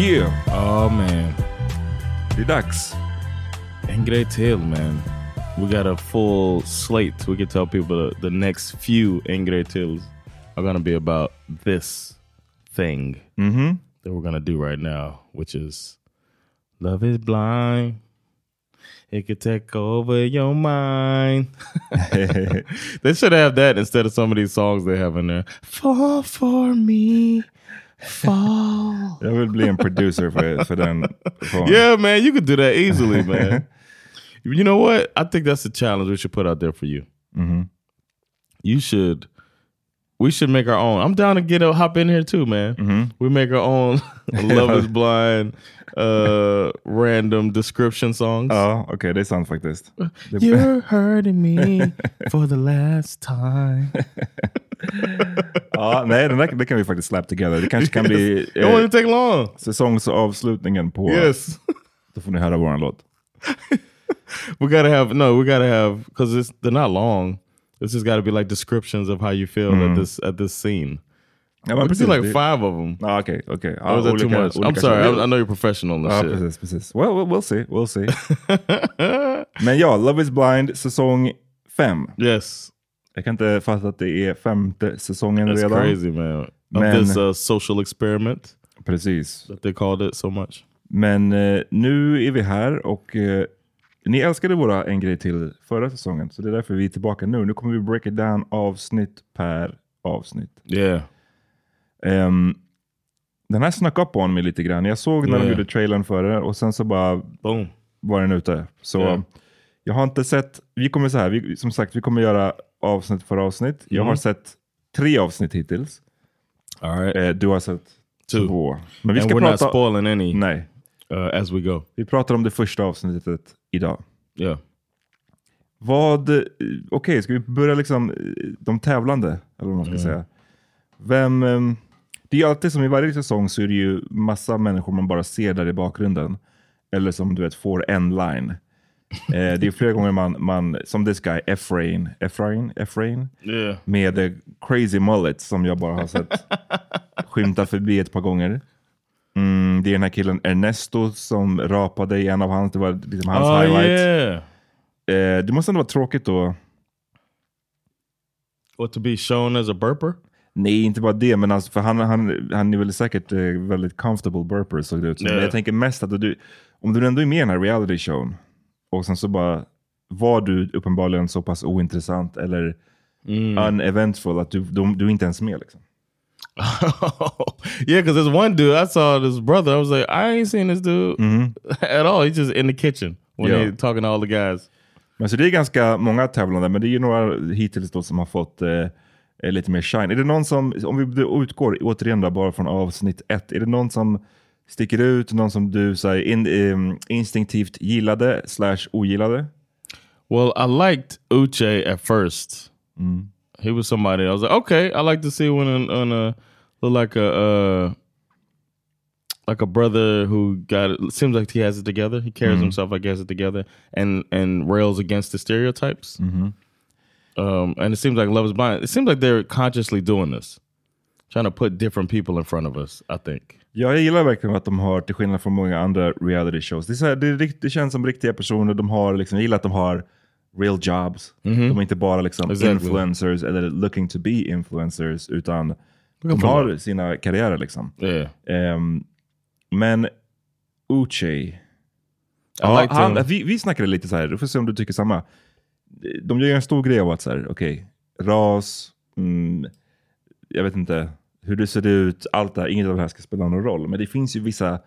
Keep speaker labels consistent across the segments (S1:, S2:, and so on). S1: Yeah!
S2: Oh man,
S1: Det är dags.
S2: and great till man. We got a full slate. We can tell people the, the next few Ingrid Tills are gonna be about this thing
S1: Mm-hmm.
S2: that we're gonna do right now, which is love is blind. It could take over your mind. they should have that instead of some of these songs they have in there. Fall for me, fall.
S1: Jag vill bli en producer för, för den. För
S2: Yeah, man, you could do that easily, man. you know what? I think that's a challenge we should put out there for you.
S1: Mhm.
S2: You should. We should make our own. I'm down to get a hop in here too, man. We make our own "Love Is Blind" uh, random description songs.
S1: Ja, okej, det är sant faktiskt. Det-
S2: You're hurting me for the last time.
S1: Ja, nej, den där, det kan vi faktiskt slap together. Det kanske kan bli
S2: It won't
S1: eh,
S2: even take long.
S1: säsongsavslutningen på...
S2: Yes.
S1: Då får ni höra vår låt.
S2: We gotta have no. We gotta have because it's they're not long. It's just gotta be like descriptions of how you feel at this at this scene.
S1: Ja,
S2: We
S1: men
S2: could do
S1: precis.
S2: like
S1: Det-
S2: five of them.
S1: Ja, okej, okej. Ja,
S2: Or was that too
S1: olika-
S2: much? I'm
S1: olika-
S2: sorry. I, I know you're professional in this
S1: Ja,
S2: shit.
S1: precis, precis. Well, well, we'll see, we'll see. Men ja, Love is blind säsong fem.
S2: Yes.
S1: Jag kan inte fatta att det är femte säsongen
S2: That's
S1: redan.
S2: crazy, man. Of
S1: Man.
S2: this uh, social experiment
S1: Precis.
S2: that they called it so much.
S1: Men eh, nu är vi här och eh, ni älskade våra En grej till förra säsongen, så det är därför vi är tillbaka nu. Nu kommer vi break it down avsnitt per avsnitt.
S2: Yeah.
S1: Ehm, den här snackade upp om mig lite grann. Jag såg när de
S2: Yeah.
S1: gjorde trailern för det och sen så bara
S2: Boom.
S1: var den ute. Så
S2: Yeah.
S1: jag har inte sett, vi kommer så här, vi, som sagt vi kommer göra avsnitt för avsnitt. Jag har
S2: Mm.
S1: sett tre avsnitt hittills.
S2: All right.
S1: Eh, du har sett
S2: Two.
S1: två. Men vi
S2: and
S1: ska
S2: we're not
S1: prata,
S2: spoiling any
S1: nej,
S2: uh, as we go.
S1: vi pratar om det första avsnittet idag.
S2: Yeah.
S1: Vad, eh, okej ska vi börja liksom eh, de tävlande? Eller vad man ska säga. Vem, ehm, det är ju alltid som i varje säsong så är det ju massa människor man bara ser där i bakgrunden. Eller som du vet får en line. Eh, det är flera gånger man, man, som this guy, Efrain, Efrain, Efrain,
S2: Yeah.
S1: med eh, crazy mullet som jag bara har sett skymta förbi ett par gånger. Mm, det är den här killen Ernesto som rapade i en av hans, det var liksom hans
S2: oh,
S1: highlight.
S2: yeah.
S1: Eh, det måste ändå vara tråkigt då.
S2: What to be shown as a burper?
S1: Nej, inte bara det, men alltså, för han, han, han är väl säkert eh, väldigt comfortable burper såg det ut som.
S2: Ja.
S1: Men jag tänker mest att du, om du ändå är med i den här reality showen och sen så bara var du uppenbarligen så pass ointressant eller uneventful att du, du, du är inte ens med. Liksom.
S2: Oh, yeah, because there's one dude I saw this brother. I was like, I ain't seen this dude at all. He's just in the kitchen when
S1: Yeah.
S2: they talking to all the guys.
S1: Men så det är ganska många tävlande, men det är ju några hittills då som har fått eh, eh, lite mer shine. Är det någon som, om vi då utgår återigen då, bara från avsnitt ett, är det någon som sticker ut, någon som du så här, in, em, instinktivt gillade slash ogillade?
S2: Well, I liked Uche at first. He was somebody. I was like, okay, I like to see one on, on a look like a uh, like a brother who got it seems like he has it together. He carries himself like he has it together, and and rails against the stereotypes. Um, and it seems like Love Is Blind. It seems like they're consciously doing this, trying to put different people in front of us. I think.
S1: Ja, jag gillar verkligen att de har, till skillnad från många andra reality shows, det, är så här, det, är rikt- det känns som riktiga personer. De har, liksom, jag gillar att de har real jobs. De är inte bara liksom,
S2: Exactly.
S1: influencers eller looking to be influencers, utan de
S2: for
S1: har sina karriärer. Liksom.
S2: Yeah.
S1: Ehm, men Uche,
S2: I
S1: ja,
S2: liked
S1: han,
S2: him.
S1: vi, vi snackade lite så här, du får se om du tycker samma. De gör ju en stor grej av att så här, okej, ras, mm, jag vet inte hur det ser ut, allt det här, inget av det här ska spela någon roll. Men det finns ju vissa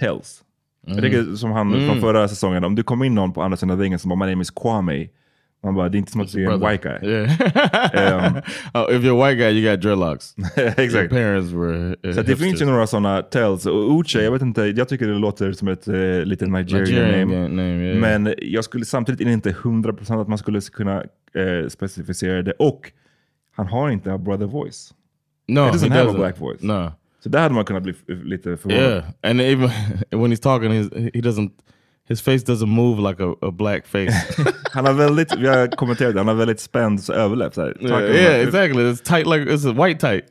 S1: tells. Jag tycker
S2: Mm.
S1: som han från förra säsongen, om du kommer in någon på andra sidan väggen som bara “My name is Kwame”, man bara “Det är inte som att du är en
S2: brother."
S1: white guy”. Ehm,
S2: Yeah. oh, if you're a white guy, you got dreadlocks. Your
S1: Exakt.
S2: parents were. Uh,
S1: Så att det finns ju
S2: hipsters.
S1: några sådana tells. Och Uche, jag vet inte, jag tycker det låter som ett eh, litet Nigerian, name.
S2: yeah, name, yeah.
S1: Men jag skulle samtidigt inte 100% att man skulle kunna eh, specificera det. Och han har inte a brother voice.
S2: no,
S1: It doesn't
S2: he
S1: have a black voice. Uh-huh.
S2: No.
S1: Så där hade man kunnat bli f- lite förvånad.
S2: Yeah, and even when he's talking, he's, he doesn't. His face doesn't move like a, a black face.
S1: Han har väldigt, vi har kommenterat det, han har väldigt spänd överläpp. så här. Talk
S2: yeah,
S1: about it.
S2: exactly. It's tight like it's a white tight.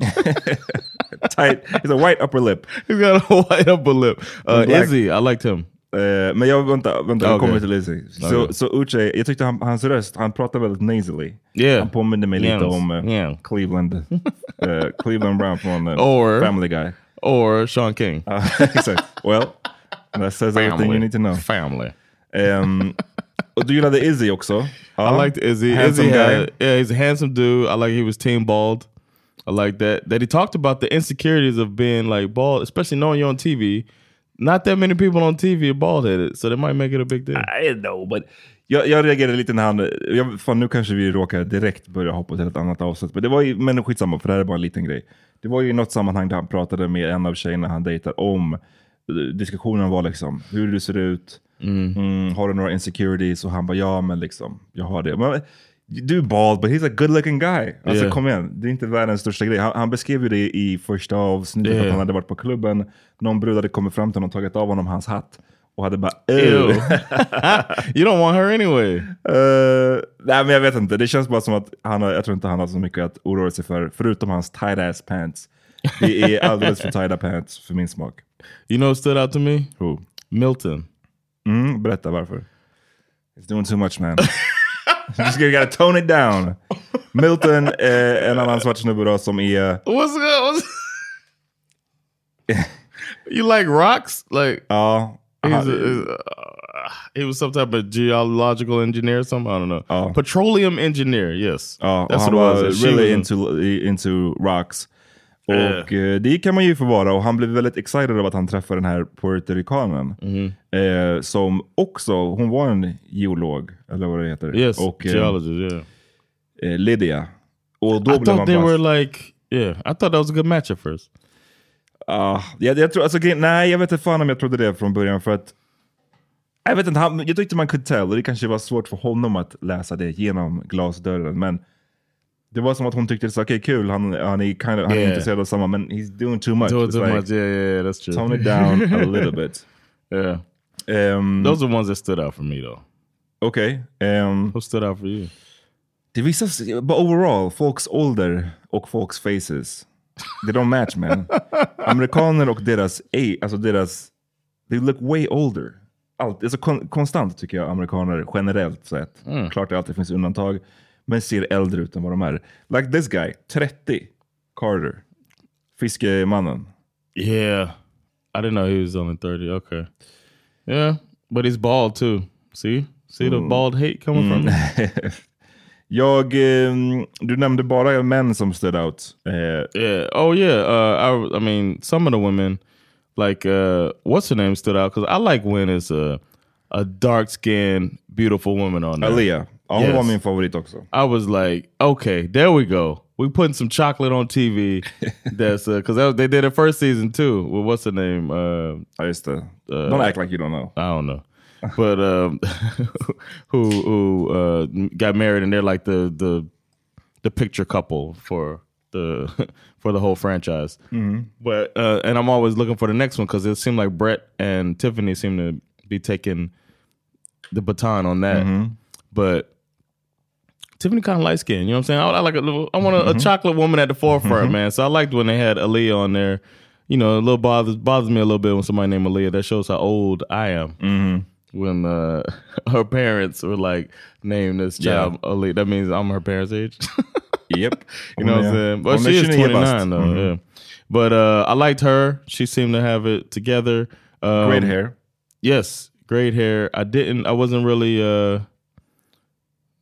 S1: Tight, it's a white upper lip.
S2: he's got a white upper lip. Uh,
S1: black.
S2: Izzy, I liked him.
S1: Eh, men jag, vänta, vänta jag
S2: Okej.
S1: kommer till Lizzy. Så,
S2: Okej.
S1: så Uche, jag tyckte han, hans röst, han pratar väldigt nasally.
S2: Yeah.
S1: Han påminner mig lite
S2: Yes.
S1: om eh,
S2: Yeah.
S1: Cleveland, eh, Cleveland Brown från eh,
S2: Or-
S1: Family Guy.
S2: Or Sean King.
S1: Ja, Exakt. Well, that says everything you need to know.
S2: Family.
S1: Ehm, och du gillade Izzy också. Ja.
S2: I liked Izzy.
S1: Handsome
S2: Izzy had,
S1: guy.
S2: yeah, he's a handsome dude. I like he was team bald. I like that that he talked about the insecurities of being like bald, especially knowing you're on TV. Not that many people on TV are bald headed, so they might make it a big deal.
S1: I know, but... Jag, jag reagerade lite när han... Jag, fan, nu kanske vi råkar direkt börja hoppa till ett annat avsnitt. Men det var ju... Men skitsamma, för det här är bara en liten grej. Det var ju i något sammanhang där han pratade med en av tjejerna han dejtar om. eh, Diskussionen var liksom, hur du ser ut, mm, har du några insecurities? Och han bara, ja men liksom, jag har det. Men, du är bald, but he's a good looking guy. Alltså
S2: Yeah.
S1: kom igen, det är inte världens största grej. Han, han beskrev ju det i första avsnittet,
S2: Yeah.
S1: att han hade varit på klubben. Någon brud hade kommit fram till honom och tagit av honom hans hatt. Och hade bara,
S2: Ew.
S1: Ew. Ah.
S2: you don't want her anyway.
S1: Eh, nej men jag vet inte, det känns bara som att han har, jag tror inte han har så mycket att oroa sig för, förutom hans tight ass pants. Det är alldeles för tighta pants för min smak.
S2: You know what stood out to me?
S1: Who?
S2: Milton.
S1: Mm, berätta varför. It's doing too much man. You just gotta tone it down. Milton, eh, en annan svart snubbe då som är,
S2: What's good? What's- you like rocks? Like
S1: ja,
S2: he's
S1: han,
S2: a, he's a- he was some type of geological engineer, or something. I don't know.
S1: Oh.
S2: Petroleum engineer. Yes.
S1: ja, och
S2: that's
S1: han
S2: what it was.
S1: var
S2: And she
S1: uh, really
S2: was in-
S1: into, into rocks. Och eh, det kan man ju få vara. Och han blev väldigt excited av att han träffade den här puertoricanen. Eh, som också, hon var en geolog, eller vad det heter.
S2: Yes,
S1: och eh,
S2: geologist. Yeah,
S1: eh, Lydia. Och då blev
S2: I
S1: man
S2: thought they
S1: bara...
S2: were like, yeah, I thought that was a good match at first.
S1: Ah, jag, jag tror, alltså, grejen- nej, jag vet inte fan om jag trodde det från början. För att... Jag vet inte, han, jag tyckte man could tell. Och det kanske var svårt för honom att läsa det genom glasdörren. Men det var som att hon tyckte, så, okej kul, han, han, är, kind of, han är
S2: Yeah.
S1: intresserad av samma, men he's doing too much.
S2: Too,
S1: It's
S2: too
S1: like,
S2: much, yeah, yeah, yeah, that's true.
S1: Tone it down a little bit. Um,
S2: yeah,
S1: Ehm,
S2: those are the ones that stood out for me though.
S1: Okej. ehm,
S2: Who stood out for you?
S1: det visas, but overall, folks ålder och folks faces. They don't match man. Amerikaner och deras, age, alltså deras, they look way older. Allt, alltså kon, konstant tycker jag amerikaner generellt sett. Klart det alltid finns undantag. Men ser äldre ut än vad de är. Like this guy, 30, Carter. Fiskemannen.
S2: Yeah. I didn't know he was only 30. Okay. Yeah. But he's bald too. See? See the bald hate coming from him?
S1: Jag, ehm, du nämnde bara män som stood out. Eh,
S2: Yeah. Oh yeah. Uh, I I mean, some of the women, like uh, what's her name, stood out because I like when it's a a dark skinned, beautiful woman on there.
S1: Aaliyah. Ja, hon
S2: Yes.
S1: var min favorit också.
S2: I was like, okay, there we go. We putting some chocolate on TV. That's because that, they did it first season too. Well, what's her name? Uh,
S1: Ja, just det. Eh, don't act like you don't know.
S2: I don't know, but um, who who uh, got married and they're like the the the picture couple for the for the whole franchise. But uh, and I'm always looking for the next one because it seemed like Brett and Tiffany seem to be taking the baton on that. But Tiffany kind of light skin, you know what I'm saying? I, I like a little, I want a, a chocolate woman at the forefront, man. So I liked when they had Aaliyah on there. You know, a little bothers bothers me a little bit when somebody named Aaliyah. That shows how old I am. When uh, her parents were like, name this
S1: Yeah.
S2: child Aaliyah. That means I'm her parents' age.
S1: Yep.
S2: You know what I'm saying? But
S1: Hon
S2: she
S1: är
S2: is
S1: 29 bast.
S2: 29 though. Yeah. But uh, I liked her. She seemed to have it together. Um,
S1: Great hair.
S2: Yes, great hair. I didn't. I wasn't really uh,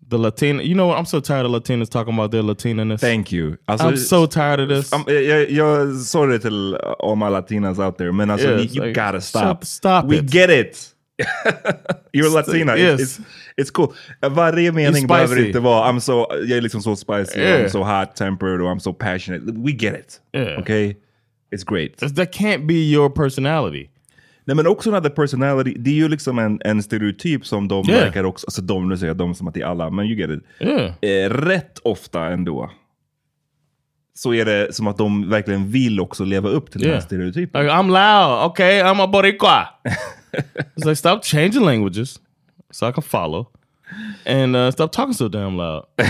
S2: the Latina. You know what? I'm so tired of Latinas talking about their Latinaness.
S1: Thank you. Alltså,
S2: I'm so tired of this.
S1: I'm- jag, jag sa det till eh, all my latinas out there, men alltså
S2: Yeah,
S1: you,
S2: it's
S1: you
S2: like,
S1: gotta stop.
S2: stop- stop
S1: We
S2: it.
S1: get it! You're latina,
S2: yes.
S1: it's, it's, it's cool. Varje mening
S2: It's
S1: behöver
S2: spicy.
S1: inte vara I'm so, jag är liksom så spicy, or I'm
S2: Yeah.
S1: so hot tempered, or I'm so passionate. We get it.
S2: Yeah.
S1: Okay? It's great.
S2: That's- that can't be your personality.
S1: Nej men också den här the personality, det är ju liksom en, en stereotyp som de
S2: Yeah.
S1: verkar också, alltså de, nu säger jag de som att det är alla, men you get it.
S2: Yeah.
S1: Eh, rätt ofta ändå så är det som att de verkligen vill också leva upp till den
S2: Yeah.
S1: här stereotypen.
S2: Like I'm loud. Okay, I'm a Boricua. it's like stop changing languages so I can follow, and uh, stop talking so damn loud.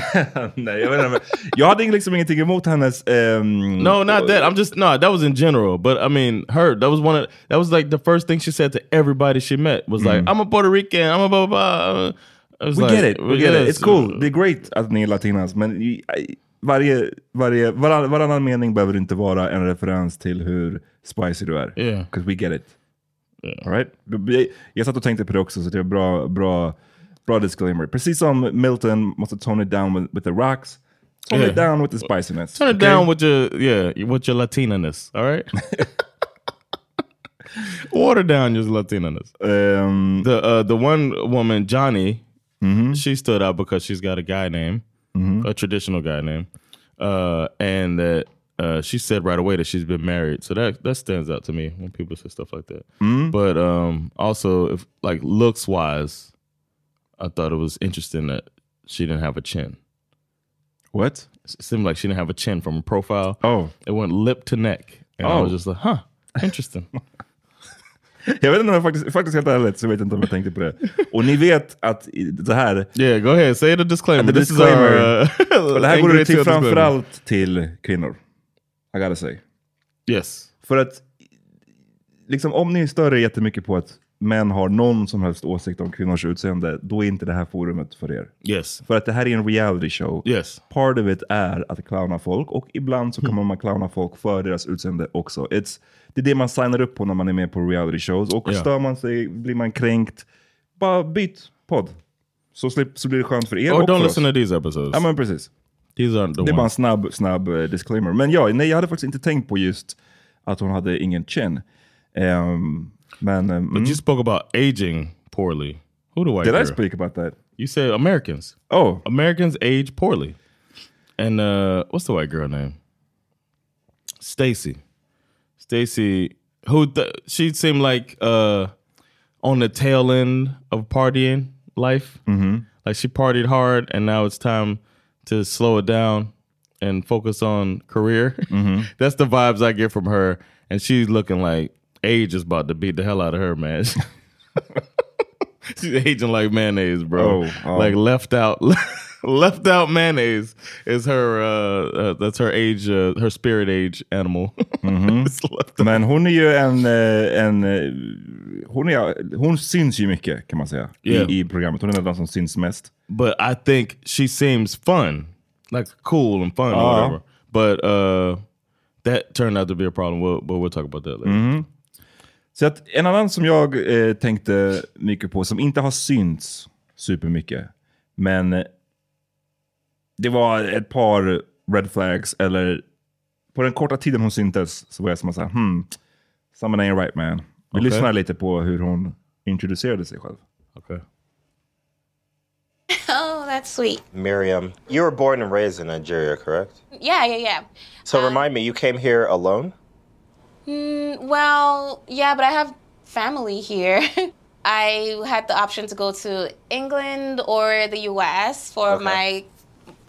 S1: Nej, jag, vet inte, men jag hade liksom ingenting emot hennes... ehm,
S2: No, not that. I'm just no. That was in general, but I mean, her. That was one of. That was like the first thing she said to everybody she met was like, "I'm a Puerto Rican. I'm a blah blah." blah. I was
S1: Mm-hmm. We
S2: like,
S1: get it, we get it.
S2: yes.
S1: It's cool. Det är great att ni är latinas, men i- i- varje, varje, varann, varannan mening behöver inte vara en referens till hur spicy du är.
S2: Yeah.
S1: 'Cause we get it. All right? jag, jag satt och tänkte på det också, så det är bra, bra, bra disclaimer. Precis som Milton måste tone it down with, with the rocks, tone it
S2: Yeah.
S1: down with the spiciness.
S2: Turn it
S1: okay?
S2: down with your yeah, with your Latinaness. All right. Water down your Latinaness.
S1: Ehm,
S2: The uh, the one woman, Johnny, she stood out because she's got a guy name, a traditional guy name, uh, and that uh, she said right away that she's been married. So that that stands out to me when people say stuff like that. But um, also, if like looks wise, I thought it was interesting that she didn't have a chin.
S1: what?
S2: It seemed like she didn't have a chin from her profile.
S1: Oh.
S2: It went lip to neck, and I
S1: Oh.
S2: was just like, huh, interesting.
S1: Jag vet inte om jag faktiskt, faktiskt helt ärligt så vet jag inte om jag tänkte på det. Och ni vet att i- det här,
S2: yeah, go ahead, say the disclaimer.
S1: The
S2: This is
S1: disclaimer.
S2: our, uh,
S1: och det här går
S2: Ingrid
S1: ut till
S2: Till disclaimer.
S1: framförallt till kvinnor. I gotta say.
S2: Yes.
S1: För att, liksom om ni stör er jättemycket på att män har någon som helst åsikt om kvinnors utseende, då är inte det här forumet för er.
S2: Yes.
S1: För att det här är en reality show.
S2: Yes.
S1: Part of it är att clowna folk och ibland så kommer
S2: Mm.
S1: man clowna folk för deras utseende också. It's, det är det man signar upp på när man är med på reality shows. Och
S2: Ja.
S1: stör man sig, blir man kränkt, bara byt podd. Så, slipp, så blir det skönt för er
S2: Or
S1: och
S2: Oh, don't
S1: för
S2: listen
S1: oss.
S2: to these episodes.
S1: Ja men precis.
S2: these aren't the
S1: Det är bara en
S2: ones.
S1: snabb, snabb eh, disclaimer. Men ja, nej, jag hade faktiskt inte tänkt på just att hon hade ingen chin. Ehm, men... eh, mm.
S2: But you spoke about aging poorly. Who do I?
S1: Did
S2: hear?
S1: I speak about that?
S2: You said Americans.
S1: Oh,
S2: Americans age poorly. And uh, what's the white girl name? Stacy. Stacy, who th- she seemed like uh, on the tail end of partying life. Mm-hmm. Like she partied hard, and now it's time to slow it down and focus on career.
S1: Mm-hmm.
S2: That's the vibes I get from her, and she's looking like age is about to beat the hell out of her, man. She's aging like mayonnaise, bro.
S1: Oh, oh.
S2: Like left out, left out mayonnaise is her. Uh, uh, that's her age, uh, her spirit age animal.
S1: Mm-hmm.
S2: It's left out.
S1: Men hon är ju en... eh, en eh, hon, är, hon syns ju mycket kan man säga
S2: Yeah.
S1: i, i programmet. Hon är den som syns mest.
S2: But I think she seems fun, like cool and fun or
S1: Uh-huh.
S2: whatever. But uh, that turned out to be a problem. We'll, but we'll talk about that later.
S1: Så att en annan som jag eh, tänkte mycket på, som inte har synts supermycket, men eh, det var ett par red flags, eller på den korta tiden hon syntes så var jag som att säga, hmm, someone ain't right man. Vi
S2: Okej.
S1: lyssnar lite på hur hon introducerade sig själv.
S2: Okay.
S3: Oh, that's sweet.
S4: Miriam, you were born and raised in Nigeria, correct?
S3: Yeah, yeah, yeah.
S4: So remind me, you came here alone?
S3: Mm, well, yeah, but I have family here. I had the option to go to England or the US for
S4: Okay.
S3: my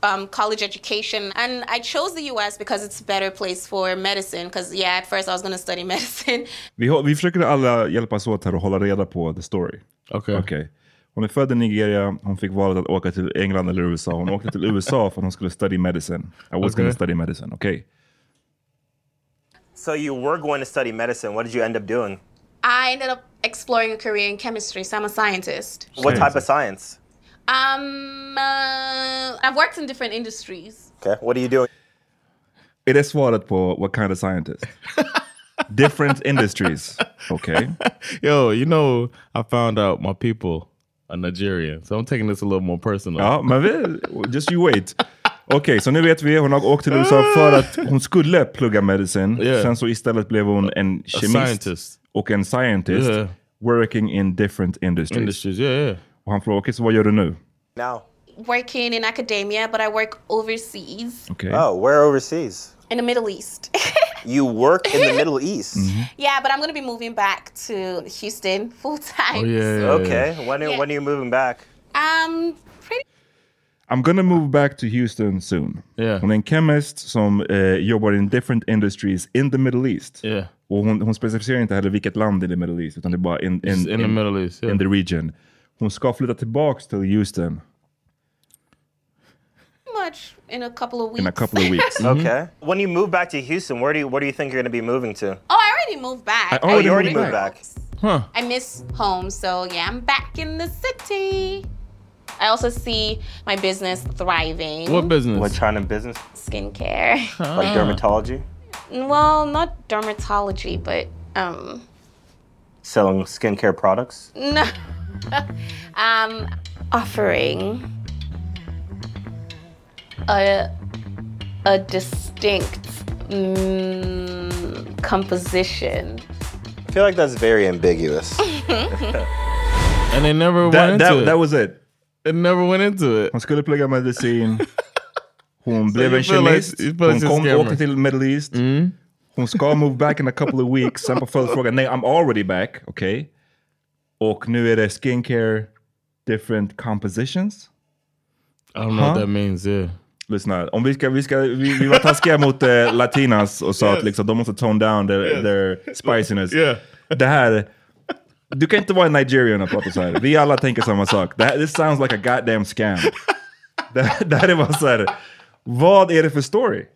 S3: um, college education. And I chose the US because it's a better place for medicine. Because, yeah, at first I was going to study medicine.
S1: Vi, hå- vi försöker alla hjälpas åt här och hålla reda på the story.
S2: Okay.
S1: Okej. Hon är född i Nigeria, hon fick valet att åka till England eller USA. Hon åkte till USA för att hon skulle study medicine. I was
S2: Okej.
S1: gonna study medicine, okej.
S4: So you were going to study medicine. What did you end up doing?
S3: I ended up exploring a career in chemistry, so I'm a scientist.
S4: What type of science?
S3: Um, uh, I've worked in different industries.
S4: Okay. What are you doing?
S1: Är det svaret på what kind of scientist? Different industries. Okej.
S2: Yo, you know, I found out my people are Nigerian, so I'm taking this a little more personal.
S1: Ja, men vi, just you wait. Okej, så nu vet vi. Hon har åkt till USA för att hon skulle plugga medicin.
S2: Yeah.
S1: Sen så istället blev hon en kemist
S2: scientist.
S1: och en scientist.
S2: Yeah.
S1: Working in different industries.
S2: Industries, yeah, yeah.
S1: Och han frågar, okej, så vad gör du nu?
S4: Now.
S3: Working in academia, but I work overseas
S1: Okej.
S4: Oh, where overseas?
S3: in the Middle East.
S4: You work in the Middle East.
S2: Mm-hmm.
S3: Yeah, but I'm gonna be moving back to Houston full
S2: Oh
S3: time.
S2: yeah. yeah, yeah. Mm-hmm.
S4: Okay. When,
S3: Yeah.
S4: when are you moving back?
S3: Um, pretty.
S1: I'm gonna move back to Houston soon.
S2: Yeah.
S1: Hon är en chemist som eh, jobbar in different industries in the Middle East.
S2: Yeah.
S1: Och hon, hon specificerar inte heller vilket land i the Middle East, utan det är bara in, in,
S2: In, the Middle East. Yeah.
S1: in the region. Hon ska flytta tillbaks till Houston
S3: Much in a couple of weeks.
S1: in a couple of weeks.
S4: Okay. When you move back to Houston, where do you, where do you think you're going to be moving to?
S3: oh, I already moved back.
S1: I already
S4: Oh, you already moved back.
S2: huh.
S3: I miss home, so yeah, I'm back in the city. I also see my business thriving.
S2: What business?
S4: What kind of business?
S3: Skincare.
S4: Like dermatology?
S3: well, not dermatology, but um,
S4: Selling skincare products?
S3: no. um, offering a a distinct mm, composition.
S4: I feel like that's very ambiguous.
S2: and they never
S1: That,
S2: went into
S1: that,
S2: it.
S1: that was it.
S2: They never went into it.
S1: Hon skulle plugga medicin. Hon blev
S2: you
S1: en
S2: feel like-
S1: kemist.
S2: you feel
S1: hon
S2: like she's a
S1: kom
S2: scammer.
S1: och åkte till Middle East. Hon ska move back in a couple of weeks. Sen på följdfrågan, nej I'm already back. Okej. Och nu är det skincare, different compositions.
S2: I don't know what that means. Yeah.
S1: Lyssna, om vi, ska, vi, ska, vi, vi var taskiga mot eh, latinas och sa att liksom, de måste tone down their, their spiciness.
S2: Yeah.
S1: Det här, du kan inte vara en nigerian och prata så här. Vi alla tänker samma sak. Det här, this sounds like a goddamn scam. Det, här- det här är bara så här, vad är det för story?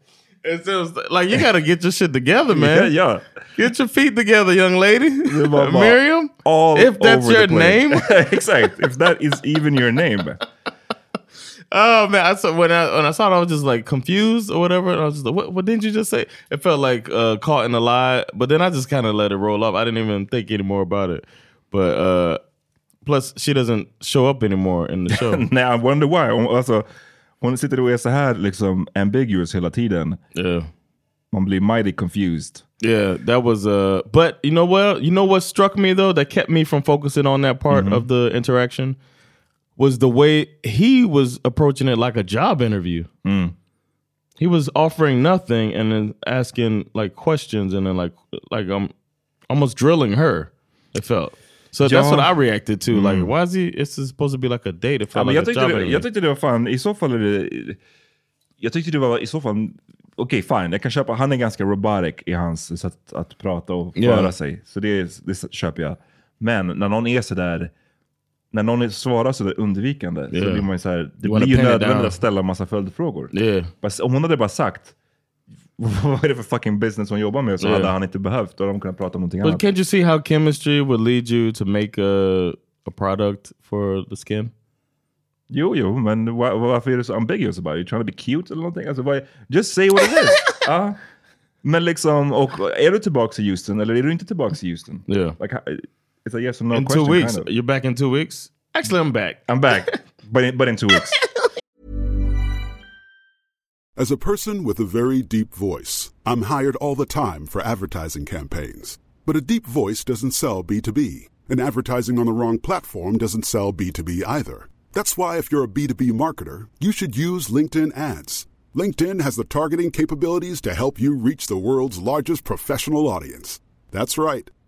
S2: It's just like you gotta get your shit together, man.
S1: Ja,
S2: Get your feet together, young lady.
S1: var bara
S2: Miriam.
S1: all
S2: if that's
S1: over
S2: your
S1: the place.
S2: name.
S1: Exakt, if that is even your name.
S2: Oh man, I saw when I when I saw it, I was just like confused or whatever. And I was just like, what, what didn't you just say? It felt like uh, caught in a lie. But then I just kind of let it roll off. I didn't even think any more about it. But uh, plus, she doesn't show up anymore in the show.
S1: Nej, I wonder why. Hon, alltså, hon sitter och är så här liksom ambiguous hela tiden.
S2: yeah,
S1: Man blir mighty confused.
S2: yeah, that was. Uh, but you know what? You know what struck me though that kept me from focusing on that part of the interaction was the way he was approaching it like a job interview. He was offering nothing and then asking like questions and then like like um almost drilling her. It felt so. That's
S1: Ja.
S2: what I reacted to. Like, why is he? It's supposed to be like a date. It
S1: Ja,
S2: felt
S1: men
S2: like
S1: jag,
S2: a
S1: tyckte
S2: job
S1: det,
S2: interview.
S1: jag tyckte det var fan, i så fall är det... Jag tyckte det var i så fall, okej fine, jag kan köpa, han är ganska robotic i hans sätt att prata och föra
S2: Ja.
S1: sig. Så det, det köper jag. Men när någon är sådär när någon svarar så där undvikande så
S2: Yeah.
S1: blir man ju så här, det
S2: You wanna
S1: blir ju
S2: pin it
S1: nödvändigt
S2: down.
S1: att ställa massa följdfrågor.
S2: Yeah.
S1: Fast Om hon hade bara sagt vad är det för fucking business hon jobbar med så
S2: Yeah.
S1: hade han inte behövt, då hade de kunnat prata om någonting
S2: But
S1: annat.
S2: can't you see how chemistry would lead you to make a a product for the skin?
S1: Jo, jo, men wa- varför är du så ambiguous about it? You trying to be cute eller någonting? Alltså, vad, just say what it is! Ja. Men liksom, och är du tillbaka i Houston eller är du inte tillbaka i Houston?
S2: Yeah.
S1: Like, how- it's a yes or no
S2: in
S1: question.
S2: two weeks,
S1: Kind of.
S2: you're back in two weeks. Actually, I'm back.
S1: I'm back, but in, but in two weeks.
S5: As a person with a very deep voice, I'm hired all the time for advertising campaigns. But a deep voice doesn't sell B2B, and advertising on the wrong platform doesn't sell B2B either. That's why, if you're a B2B marketer, you should use LinkedIn ads. LinkedIn has the targeting capabilities to help you reach the world's largest professional audience. That's right,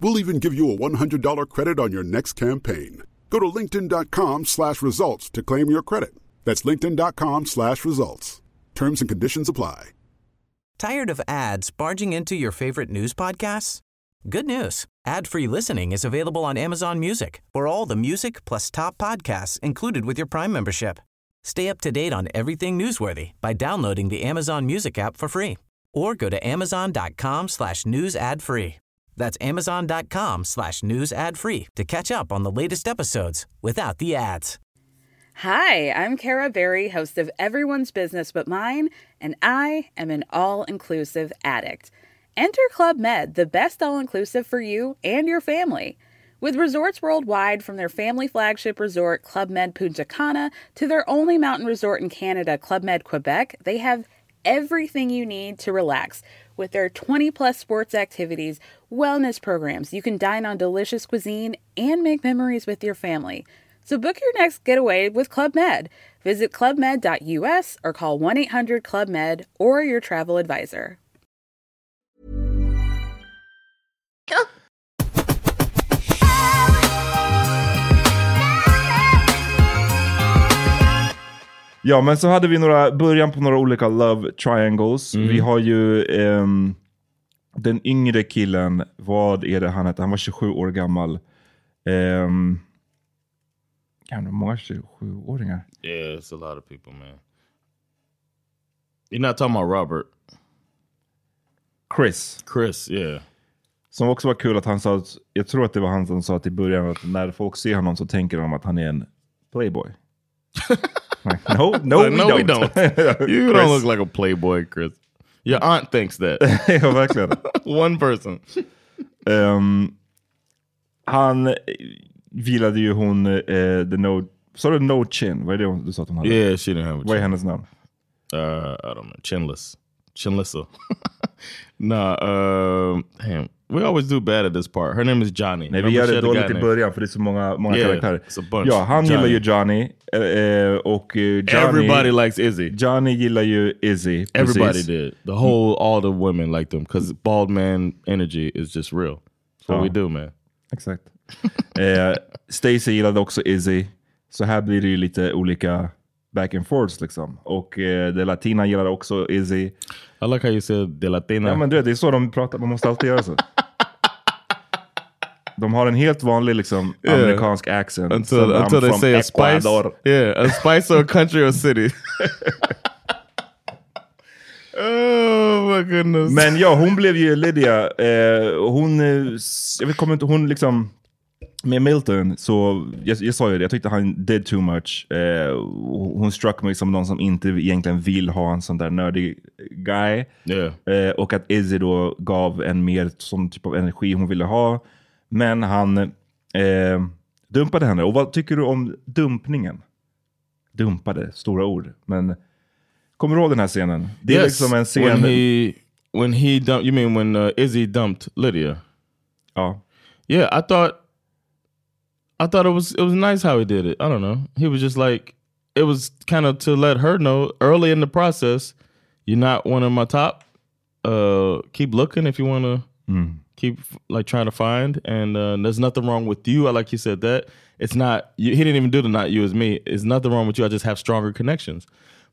S5: We'll even give you a $100 credit on your next campaign. Go to linkedin.com slash results to claim your credit. That's linkedin.com slash results. Terms and conditions apply.
S6: Tired of ads barging into your favorite news podcasts? Good news. Ad-free listening is available on Amazon Music for all the music plus top podcasts included with your Prime membership. Stay up to date on everything newsworthy by downloading the Amazon Music app for free or go to amazon.com slash news ad free. That's amazon.com slash news ad free to catch up on the latest episodes without the ads.
S7: Hi, I'm Kara Berry, host of Everyone's Business But Mine, and I am an all inclusive addict. Enter Club Med, the best all inclusive for you and your family. With resorts worldwide, from their family flagship resort, Club Med Punta Cana, to their only mountain resort in Canada, Club Med Quebec, they have everything you need to relax. With their 20 plus sports activities, wellness programs, you can dine on delicious cuisine and make memories with your family. So book your next getaway with Club Med. Visit clubmed.us or call 1 800 Club Med or your travel advisor.
S1: Ja, men så hade vi några, början på några olika love triangles.
S2: Mm.
S1: Vi har ju ehm, den yngre killen, vad är det han hette? Han var 27 år gammal. Um, gamla, många 27-åringar.
S2: Yeah, it's a lot of people, man. You're not talking about Robert,
S1: Chris,
S2: Chris. Yeah,
S1: som också var kul att han sa, att, jag tror att det var han som sa till början att när folk ser honom så tänker de att han är en playboy. like, no, no, we,
S2: no,
S1: don't.
S2: we don't. you don't look like a playboy, Chris. Your aunt thinks that.
S1: like ja, verkligen.
S2: One person.
S1: Ehm, han eh, gillade ju hon, eh, the no, sa du no chin? Vad är det hon- du sa att hon hade?
S2: Yeah, she didn't have a
S1: Vad är
S2: chin.
S1: hennes namn?
S2: Uh, I don't know. Chinless. Chinlessa. nah, um, damn. We always do bad at this part. Her name is Johnny.
S1: Nej, vi
S2: Remember
S1: gör
S2: she
S1: det
S2: had a guy
S1: dåligt i
S2: named-
S1: början för det är så många, många
S2: Yeah,
S1: karaktärer.
S2: it's a bunch.
S1: Ja, han
S2: Johnny.
S1: gillar ju Johnny. eh, eh, och eh, Johnny,
S2: Everybody likes Izzy.
S1: Johnny gillar ju Izzy. precis.
S2: Everybody did. The whole, all the women liked them because bald man energy is just real. That's what
S1: Oh.
S2: we do, man.
S1: Exakt. eh, Stacy gillade också Izzy. Så här blir det ju lite olika back and forths liksom. Och eh, The Latina gillar också Izzy.
S2: I like how you said de Latina.
S1: Ja, men du vet, det är så de pratar, man måste alltid göra så. De har en helt vanlig liksom,
S2: Yeah.
S1: amerikansk accent.
S2: until
S1: som I'm
S2: until they
S1: from
S2: say a spice.
S1: Ecuador.
S2: Yeah, a spice or a country or city. oh my goodness.
S1: Men ja, hon blev ju Lydia. Eh, och hon, eh, s- jag vet, kommer inte, hon liksom... Med Milton, så, jag, jag sa ju det, jag tyckte han did too much. Eh, och hon struck mig som någon som inte egentligen vill ha en sån där nördig guy.
S2: yeah.
S1: Eh, och att Izzy då gav en mer sån typ av energi hon ville ha. Men han eh, dumpade henne. Och vad tycker du om dumpningen? Dumpade, stora ord. Men kommer du ihåg den här scenen? Det är
S2: Yes,
S1: liksom en
S2: When
S1: scen...
S2: he when he dumped, you mean when uh, Izzy dumped Lydia?
S1: Ja.
S2: Yeah, I thought I thought it was it was nice how he did it. I don't know. He was just like it was kind of to let her know early in the process, you're not one of my top. Uh, keep looking if you want to
S1: Hmm.
S2: keep like trying to find. And uh, there's nothing wrong with you. I like you said that. It's not you, he didn't even do the not you as me. It's nothing wrong with you. I just have stronger connections.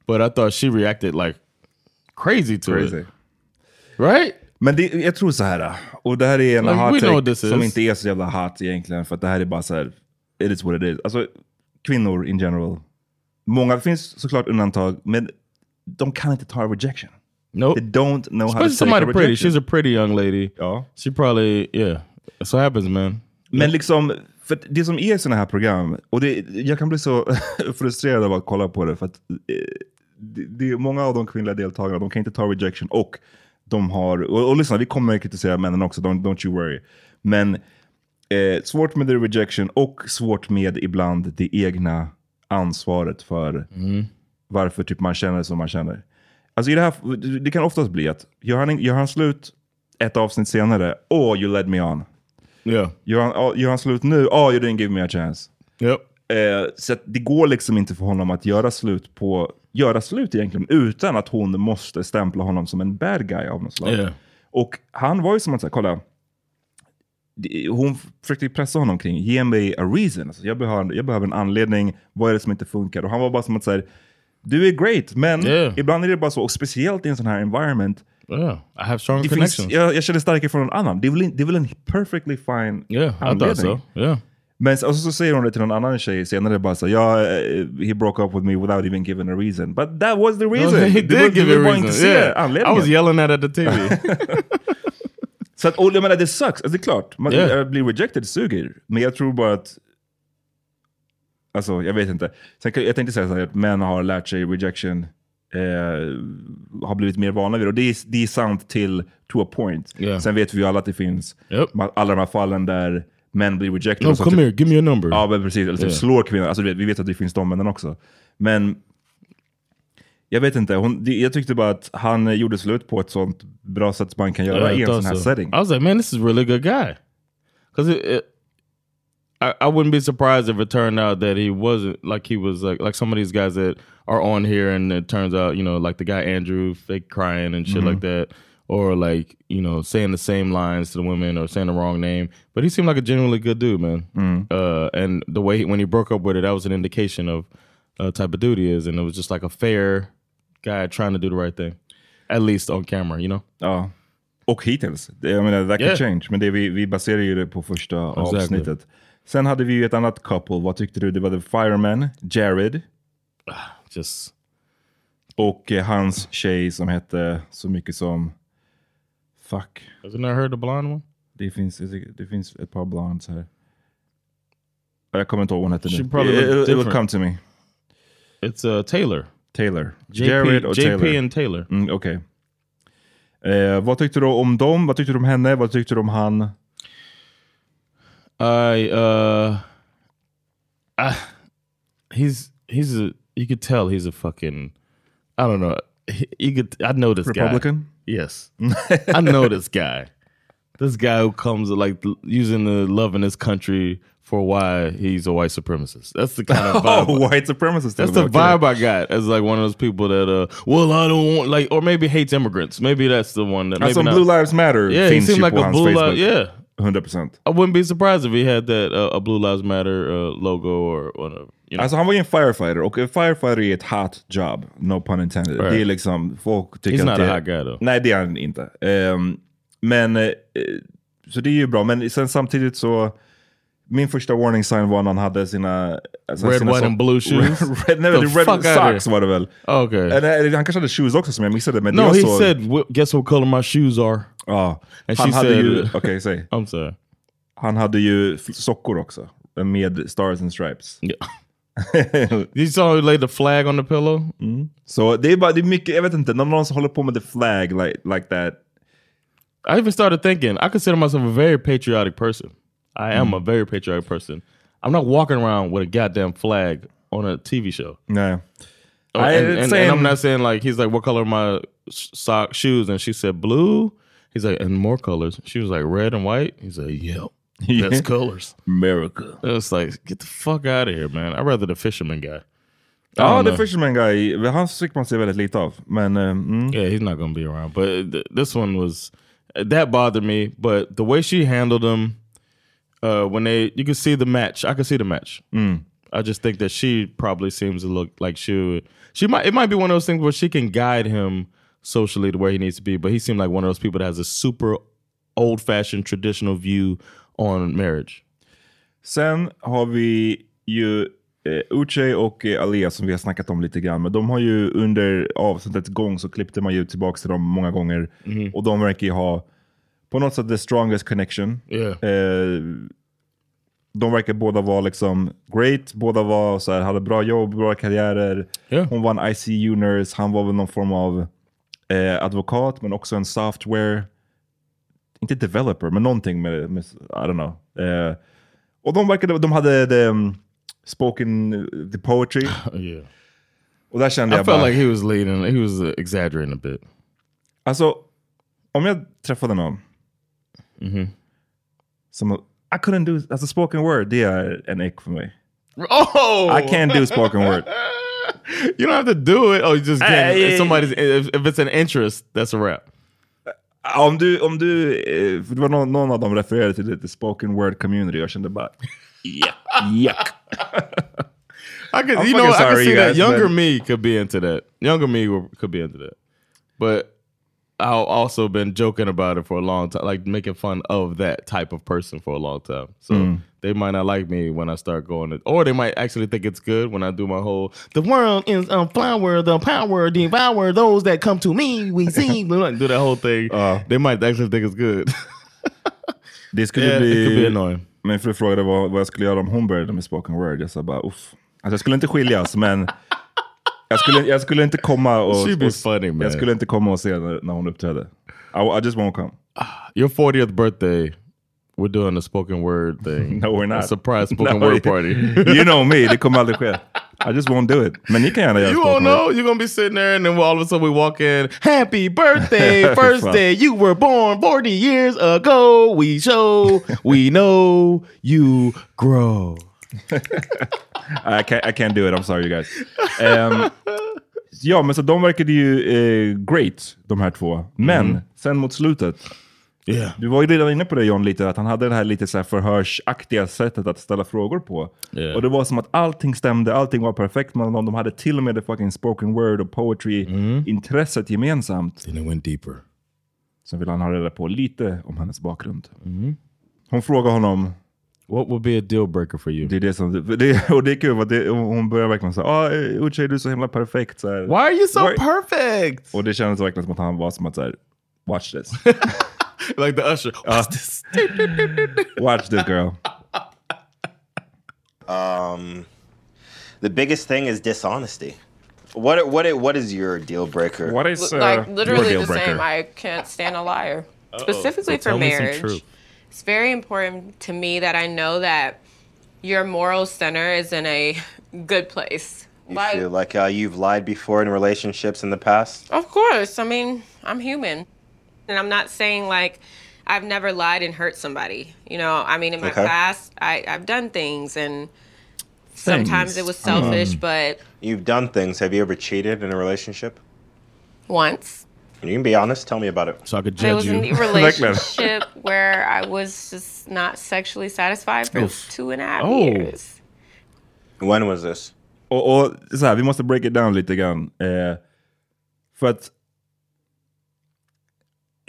S2: But I thought she reacted like crazy to
S1: Crazy.
S2: it, right?
S1: Men det, jag tror så här, och det här är en
S2: Like, we
S1: hot
S2: know
S1: take
S2: what this
S1: som
S2: is.
S1: inte är så jävla hot egentligen, för att det här är bara så här, it is what it is. Alltså, kvinnor in general, många, det finns såklart undantag, men de kan inte ta rejection.
S2: Nope.
S1: They don't know how to
S2: Especially
S1: take
S2: somebody
S1: a
S2: pretty.
S1: rejection.
S2: She's a pretty young lady.
S1: Ja.
S2: She probably yeah. That's what happens, man.
S1: Men liksom, för att det som är sådana här program, och det, jag kan bli så frustrerad av att kolla på det, för att eh, det, det är många av de kvinnliga deltagarna, de kan inte ta rejection och de har, och, och lyssna, vi kommer att kritisera männen också, don't, don't you worry. Men eh, svårt med the rejection och svårt med ibland det egna ansvaret för varför typ man känner som man känner. Alltså i det, här, det kan oftast bli att gör han, gör han slut ett avsnitt senare, oh you led me on.
S2: Yeah.
S1: Gör han, ja, gör han slut nu? Oh, you didn't give me a chance.
S2: Yep.
S1: Eh, så att det går liksom inte för honom att göra slut på göra slut egentligen utan att hon måste stämpla honom som en bad guy av något slag.
S2: Yeah.
S1: Och han var ju som att säga, kolla, det- hon försökte ju pressa honom kring, ge mig a reason. Alltså, jag, behöver, jag behöver en anledning, vad är det som inte funkar? Och han var bara som att säga, du är great, men
S2: Yeah.
S1: ibland är det bara så, och speciellt i en sån här environment,
S2: Yeah. I have strong
S1: det finns,
S2: connections.
S1: jag, jag känner starkare från någon annan. Det är väl en- det är väl en perfectly fine
S2: yeah. I thought so. Yeah.
S1: Men så- och så säger hon det till någon annan tjej senare bara så ja, eh, he broke up with me without even giving a reason. But that was the reason!
S2: he
S1: Det var-
S2: did give
S1: det
S2: it
S1: var inte
S2: reason.
S1: se
S2: Yeah. I
S1: anledningen.
S2: was yelling at her at the TV.
S1: Så att, och jag menar det sucks, alltså, det är klart. Man,
S2: Yeah.
S1: Att bli rejected suger. Men jag tror bara att... Alltså jag vet inte. Sen, kan- jag tänkte säga så här, att män har lärt sig rejection, eh, har blivit mer vana vid det. Och det är, det är sant till to a point.
S2: Yeah.
S1: Sen vet vi ju alla att det finns
S2: Yep.
S1: ma- alla de här fallen där män blir rejected.
S2: no,
S1: och så
S2: come
S1: typ-
S2: here. Give me your number.
S1: Ja, men precis. Eller typ
S2: Ja.
S1: slår kvinnor. Alltså, du vet, vi vet att det finns de männen också. Men jag vet inte. Hon, det- jag tyckte bara att han eh, gjorde slut på ett sånt bra sätt man kan
S2: Yeah,
S1: göra
S2: I
S1: i en
S2: thought
S1: sån här
S2: so.
S1: setting.
S2: I was like, man, this is a really good guy. Because it, it- I, I wouldn't be surprised if it turned out that he wasn't like he was like like some of these guys that are on here, and it turns out you know like the guy Andrew fake crying and shit like that, or like you know saying the same lines to the women or saying the wrong name. But he seemed like a genuinely good dude, man. Uh, and the way he, when he broke up with her, that was an indication of uh, type of dude he is, and it was just like a fair guy trying to do the right thing, at least on camera, you know.
S1: Ja. Och hittills. Det- Jag menar, that
S2: Yeah.
S1: can change. Men det, vi, vi baserar ju det på första
S2: Exactly.
S1: avsnittet. Sen hade vi ju ett annat couple. Vad tyckte du? Det var The Fireman, Jared,
S2: Just
S1: och eh, hans tjej som hette så mycket som... Fuck.
S2: Hasn't that her the blonde one?
S1: Det finns, det finns ett par blondes här. Jag kommer inte ihåg vad hon hette nu.
S2: She probably
S1: It-
S2: looked
S1: it- It'll
S2: different.
S1: come to me.
S2: It's uh Taylor.
S1: Taylor.
S2: JP,
S1: Jared och
S2: JP
S1: Taylor.
S2: and Taylor.
S1: Mm, Okej. Eh, vad tyckte du om dem? Vad tyckte du om henne? Vad tyckte du om han?
S2: I uh I, he's he's a you could tell he's a fucking I don't know. He- You could I know this guy.
S1: Republican?
S2: Yes. I know this guy. This guy who comes like l- using the love in this country for why he's a white supremacist. That's the kind of vibe.
S1: Oh, white supremacist.
S2: That's
S1: till
S2: the
S1: och med.
S2: vibe I got as like one of those people that uh well I don't want like or maybe hates immigrants. Maybe that's the one that maybe
S1: Alltså
S2: not.
S1: Blue Lives Matter
S2: yeah, he
S1: finns
S2: seemed
S1: ju
S2: like
S1: på
S2: a
S1: hans
S2: blue
S1: Facebook.
S2: lives. Yeah,
S1: 100%.
S2: I wouldn't be surprised if he had that uh, a Blue Lives Matter uh, logo or whatever. You know,
S1: Alltså han var ju en firefighter och en firefighter är ett hot job. No pun intended.
S2: Right.
S1: Det är liksom, folk tycker
S2: He's
S1: att
S2: not
S1: det
S2: a hot guy, though.
S1: Nej det är han inte. Ehm, men, eh, så det är ju bra. Men sen samtidigt så, min första warning sign var när han hade sina... alltså
S2: Red,
S1: sina
S2: white
S1: so-
S2: and blue shoes?
S1: red, nej, men
S2: The
S1: det är
S2: fuck
S1: red
S2: outta here.
S1: socks var det väl?
S2: Okay.
S1: Eh, nej, han kanske hade shoes också som jag missade. Men det
S2: no,
S1: jag
S2: he
S1: såg-
S2: said, "Wh- "Guess what color my shoes are."
S1: Ja,
S2: And
S1: han
S2: she
S1: hade
S2: said-
S1: ju... Okej, säg.
S2: I'm sorry.
S1: Han hade ju f- sockor också. Med stars and stripes.
S2: Yeah. you saw he laid the flag on the pillow.
S1: Så det är bara, det är mycket, jag vet inte, när någon som håller på med the flag like, like that.
S2: I even started thinking I consider myself a very patriotic person. I am a very patriotic person. I'm not walking around with a goddamn flag on a TV show.
S1: Nej.
S2: Oh,
S1: I-
S2: and, and-
S1: same.
S2: and I'm not saying like he's like, what color are my sh- sock shoes? And she said blue. He's like, and more colors. She was like red and white. He's like, yep. That's colors.
S1: America.
S2: It was like, get the fuck out of here, man. I'd rather the fisherman guy.
S1: Ja,
S2: don't
S1: The
S2: know.
S1: Fisherman Guy, han fick man se väldigt lite av. Men eh, mm,
S2: Yeah, he's not going to be around. But th this one was that bothered me. But the way she handled him uh, when they, you could see the match. I could see the match. I just think that she probably seems to look like she would. She might. It might be one of those things where she can guide him socially to where he needs to be. But he seemed like one of those people that has a super old fashioned traditional view on marriage.
S1: Sen har vi ju eh, Uche och eh, Alia som vi har snackat om lite grann. Men de har ju under avsnittets gång så klippte man ju tillbaka till dem många gånger. Och de verkar ju ha på något sätt the strongest connection.
S2: Yeah.
S1: Eh, de verkar båda vara liksom great, båda var så här, hade bra jobb, bra karriärer.
S2: Ja.
S1: Hon var en ICU nurse, han var väl någon form av eh, advokat, men också en software, inte developer, men någonting med, med I don't know. Eh, och de verkade, de hade the, um, spoken uh, the poetry.
S2: yeah.
S1: Och där kände
S2: I
S1: jag
S2: felt
S1: bara,
S2: like he was leading. He was uh, exaggerating a bit.
S1: alltså om jag träffade någon
S2: Mm-hmm.
S1: som, I couldn't do, alltså spoken word, det är en ick för mig.
S2: Oh,
S1: I can't do spoken word.
S2: You don't have to do it. Oh, you just can't.
S1: Hey.
S2: If somebody's if, if it's an interest, that's a wrap.
S1: Ja, Om du, om du, eh, för det var någon, någon av dem refererade till lite spoken word community. Jag kände bara, yuck, yuck.
S2: I
S1: I'm
S2: could, you
S1: fucking
S2: know, what, I
S1: sorry,
S2: could see
S1: you
S2: that
S1: guys,
S2: younger
S1: but-
S2: me could be into that. Younger me were- could be into that. But I've also been joking about it for a long time, like making fun of that type of person for a long time. So
S1: Hmm.
S2: they might not like me when I start going, to, or they might actually think it's good when I do my whole "the world is a flower, the power devour those that come to me." We see, do that whole thing.
S1: Ja.
S2: they might actually think it's good.
S1: Det skulle
S2: yeah, it could be
S1: bli...
S2: annoying.
S1: Min fru frågade vad, vad jag skulle göra om hon började med spoken word. Jag sa bara, uff. Alltså jag skulle inte skiljas, men jag skulle, jag skulle inte komma och...
S2: She'd be
S1: och
S2: funny, man.
S1: jag skulle inte komma och se när, när hon uppträdde. I, I just won't come.
S2: Your 40th birthday, we're doing a spoken word thing.
S1: No, we're not.
S2: A surprise spoken
S1: No,
S2: word party.
S1: You know me, det kommer aldrig ske. I just won't do it. Men ni kan gärna göra
S2: You
S1: spoken
S2: won't
S1: word.
S2: know. You're gonna be sitting there, and then all of a sudden we walk in. Happy birthday! First
S1: Fuck.
S2: day you were born, forty years ago. We show, we know you grow.
S1: I can't, I can't do it, I'm sorry you guys. Ehm, ja, men så de verkade ju eh, great, de här två. Men sen mot slutet,
S2: Yeah,
S1: du var ju redan inne på det John lite, att han hade det här lite så här förhörsaktiga sättet att ställa frågor på.
S2: Ja.
S1: Och det var som att allting stämde, allting var perfekt mellan dem. De hade till och med det fucking spoken word och poetry-intresset gemensamt.
S2: and it went deeper.
S1: Sen ville han ha reda på lite om hennes bakgrund. Hon frågade honom,
S2: What would be a deal breaker for you?
S1: det är det som, det, och det är kul, för att det, hon börjar verkligen säga, ah, eh, Uche du är så himla perfekt. Så här.
S2: Why are you so
S1: Why-
S2: perfect?
S1: Och det kändes verkligen som att han var som att såhär, watch this.
S2: Like the usher.
S1: Ja. watch this girl.
S8: Um, The biggest thing is dishonesty. What what what is your deal breaker?
S1: What is uh,
S9: like literally
S1: your
S9: the
S1: deal breaker?
S9: same. I can't stand a liar, specifically
S2: tell
S9: for
S2: me some
S9: marriage.
S2: truth.
S9: It's very important to me that I know that your moral center is in a good place.
S8: You
S9: Like,
S8: feel like uh, you've lied before in relationships in the past?
S9: of course, I mean, I'm human, and I'm not saying like I've never lied and hurt somebody. You know, I mean, in my
S8: Okay.
S9: past, I, I've done things, and sometimes it was selfish, but
S8: You've done things. Have you ever cheated in a relationship?
S9: once.
S8: And you can be honest. Tell me about it.
S2: So I could
S9: There
S2: judge
S9: was a
S2: you.
S9: relationship where I was just not sexually satisfied for two and a half
S2: Oh.
S9: years.
S8: When was this?
S1: Och, och så här, vi måste break it down lite grann. Eh, för att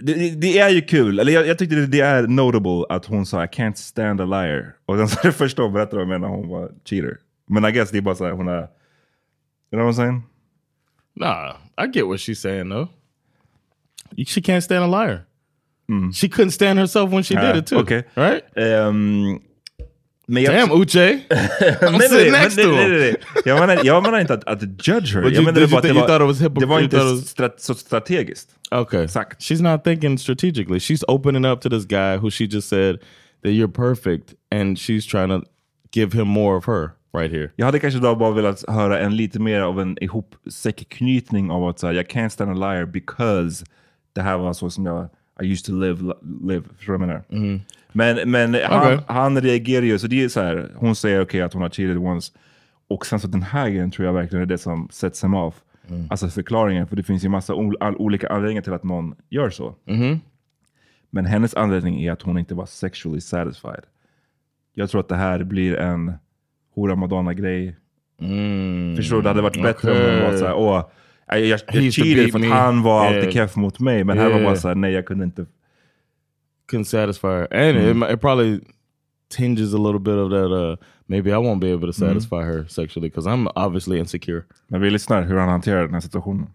S1: det, det- det är ju kul, eller jag, jag tyckte det, det är notable att hon sa I can't stand a liar. Och sen så är det första hon berättade om henne, hon var cheater. Men I guess det är bara så här, hon är... You know what I'm saying?
S2: Nah, I get what she's saying though. She can't stand a liar. She couldn't stand herself when she
S1: Ah,
S2: did it too.
S1: okay.
S2: right?
S1: Ehm, men jag,
S2: Damn, Uche. I'm
S1: Nej, nej,
S2: sitting
S1: nej,
S2: next
S1: nej,
S2: to
S1: nej,
S2: him.
S1: nej, nej. Jag menar, jag menar inte att, att judge her.
S2: But
S1: Jag
S2: you-
S1: menar
S2: did you
S1: bara att
S2: think-
S1: det
S2: you
S1: var-
S2: thought it was hypocr-
S1: det var
S2: you
S1: inte
S2: thought it was-
S1: strat, så strategiskt.
S2: Okay.
S1: Exakt.
S2: She's not thinking strategically. She's opening up to this guy who she just said that you're perfect and she's trying to give him more of her right here.
S1: Jag hade kanske då bara velat höra en lite mer av en ihopsäckknytning av att så här, jag can't stand a liar because det här var så som jag I used to live, li- live. Förstår du vad jag menar? Men, men han,
S2: Mm. Okej.
S1: han reagerar ju, så det är så här, hon säger okej att hon har cheated once. Och sen så den här grejen tror jag verkligen är det som sets him off.
S2: Mm.
S1: Alltså förklaringen, för det finns ju massa ol- all, olika anledningar till att någon gör så. Men hennes anledning är att hon inte var sexually satisfied. Jag tror att det här blir en hora madonna grej. Förstår du? Det hade varit bättre om hon var
S2: Mm. okej.
S1: såhär, åh, jag, jag,
S2: He
S1: jag
S2: used to
S1: cheated
S2: beat
S1: för att
S2: me."
S1: han var alltid
S2: Yeah.
S1: keff mot mig. Men här var bara
S2: Yeah.
S1: såhär, nej jag kunde inte.
S2: couldn't satisfy her, and it mi- it, probably tinges a little bit of that. Uh, maybe I won't be able to satisfy her sexually because I'm obviously insecure.
S1: Men vi lyssnar hur han hanterar den här situationen.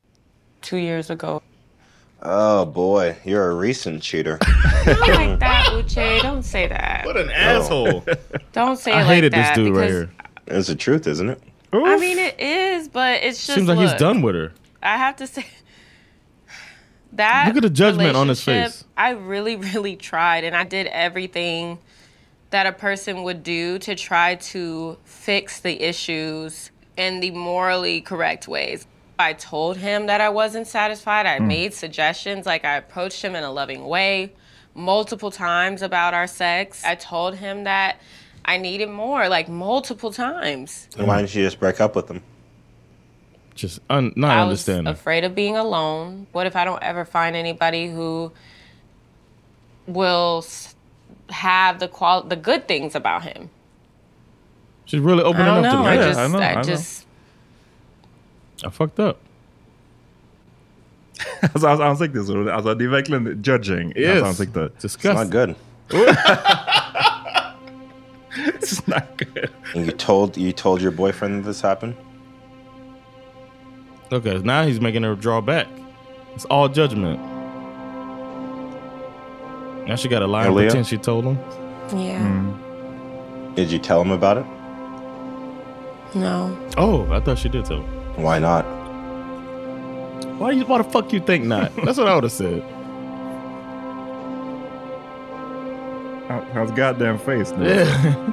S9: Two years ago.
S8: Oh boy, you're a recent cheater. Oh.
S9: Not like that, Uche. Don't say that.
S2: What an asshole!
S9: Don't say it
S2: I
S9: like
S2: hated this
S9: that
S2: dude right
S9: because-
S2: here.
S8: That's the truth, isn't it?
S9: I mean, it is, but it's just.
S2: Seems like he's
S9: look,
S2: done with her.
S9: I have to say that.
S2: Look at the judgment on his
S9: relationship,
S2: face.
S9: I really, really tried, and I did everything that a person would do to try to fix the issues in the morally correct ways. I told him that I wasn't satisfied.
S2: Hmm.
S9: I made suggestions, like I approached him in a loving way multiple times about our sex. I told him that I needed more, like multiple times.
S8: Then Why didn't you just break up with him?
S2: Just un- not
S9: I
S2: understanding.
S9: was afraid of being alone. What if I don't ever find anybody who will s- have the qual the good things about him?
S2: She's really
S9: I
S2: opening
S9: don't
S2: up to
S9: know.
S2: me.
S9: I
S1: Yeah,
S9: just,
S1: I
S9: I,
S1: know, I know.
S9: just,
S2: I fucked up.
S1: Alltså hans ansikte är så roligt. Alltså det är verkligen judging. i Hans ansikte.
S8: It's not
S2: Disgusting.
S8: good.
S1: Snackar.
S8: And you told you told your boyfriend that this happened.
S2: Okay, now he's making her draw back. It's all judgment. Now she got to lie and
S8: Aaliyah?
S2: pretend she told him.
S9: yeah,
S8: Did you tell him about it?
S9: no.
S2: Oh, I thought she did tell him.
S8: Why not?
S2: Why, you, why the fuck you think not? That's what I would have said.
S1: Hans goddamn face nu.
S2: Yeah.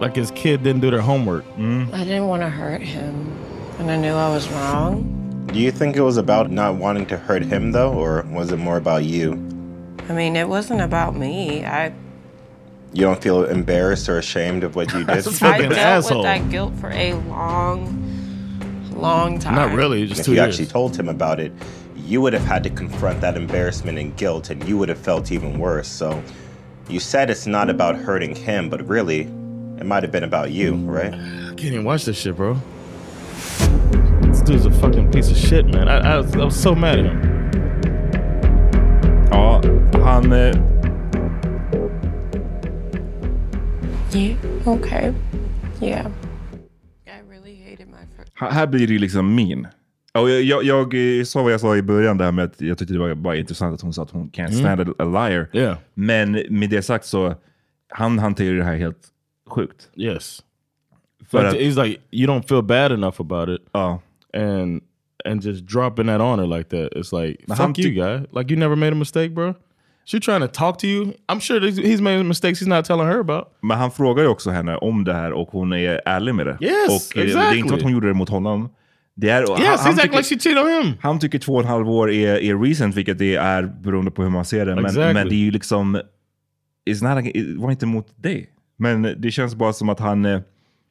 S2: like his kid didn't do their homework.
S9: I didn't want to hurt him, and I knew I was wrong.
S8: Do you think it was about not wanting to hurt him though, or was it more about you?
S9: I mean, it wasn't about me. I,
S8: You don't feel embarrassed or ashamed of what you did.
S2: That's
S9: I
S2: Fucking
S9: dealt
S2: asshole.
S9: with that guilt for a long, long time.
S2: Not really, just
S8: if
S2: two
S8: you
S2: years.
S8: actually told him about it, you would have had to confront that embarrassment and guilt, and you would have felt even worse. So, you said it's not about hurting him, but really, it might have been about you, right?
S2: I can't even watch this shit, bro. This dude's a fucking piece of shit, man. I, I, was, I was so mad at him.
S1: Ja, han... eh,
S9: Yeah. Okay. Yeah. I really hated my first.
S1: ha- Här blir det ju liksom min. Och jag, jag, jag eh, sa vad jag sa i början, det här med att jag tyckte det var bara intressant att hon sa att hon can't stand a- a liar.
S2: Yeah.
S1: Men med det sagt så, han hanterar ju det här helt sjukt.
S2: Yes.
S1: För
S2: Like,
S1: att,
S2: he's like, you don't feel bad enough about it.
S1: ja,
S2: and and just dropping that on her like that. It's like
S1: But how
S2: fuck you,
S1: do-
S2: guy. Like you never made a mistake, bro. She trying to talk to you. I'm sure that he's made mistakes he's not telling her about.
S1: men han frågar ju också henne om det här och hon är ärlig med det.
S2: Yes,
S1: och eh, det är inte
S2: exactly.
S1: att hon gjorde det mot honom. Det är, och
S2: Yes,
S1: han,
S2: he's
S1: han,
S2: acting
S1: tycker,
S2: like she cheated on him.
S1: han tycker två och en halv år är, är recent, vilket det är beroende på hur man ser det. Men,
S2: Exactly.
S1: men det är ju liksom, it's not, it var inte mot dig. Men det känns bara som att han... eh,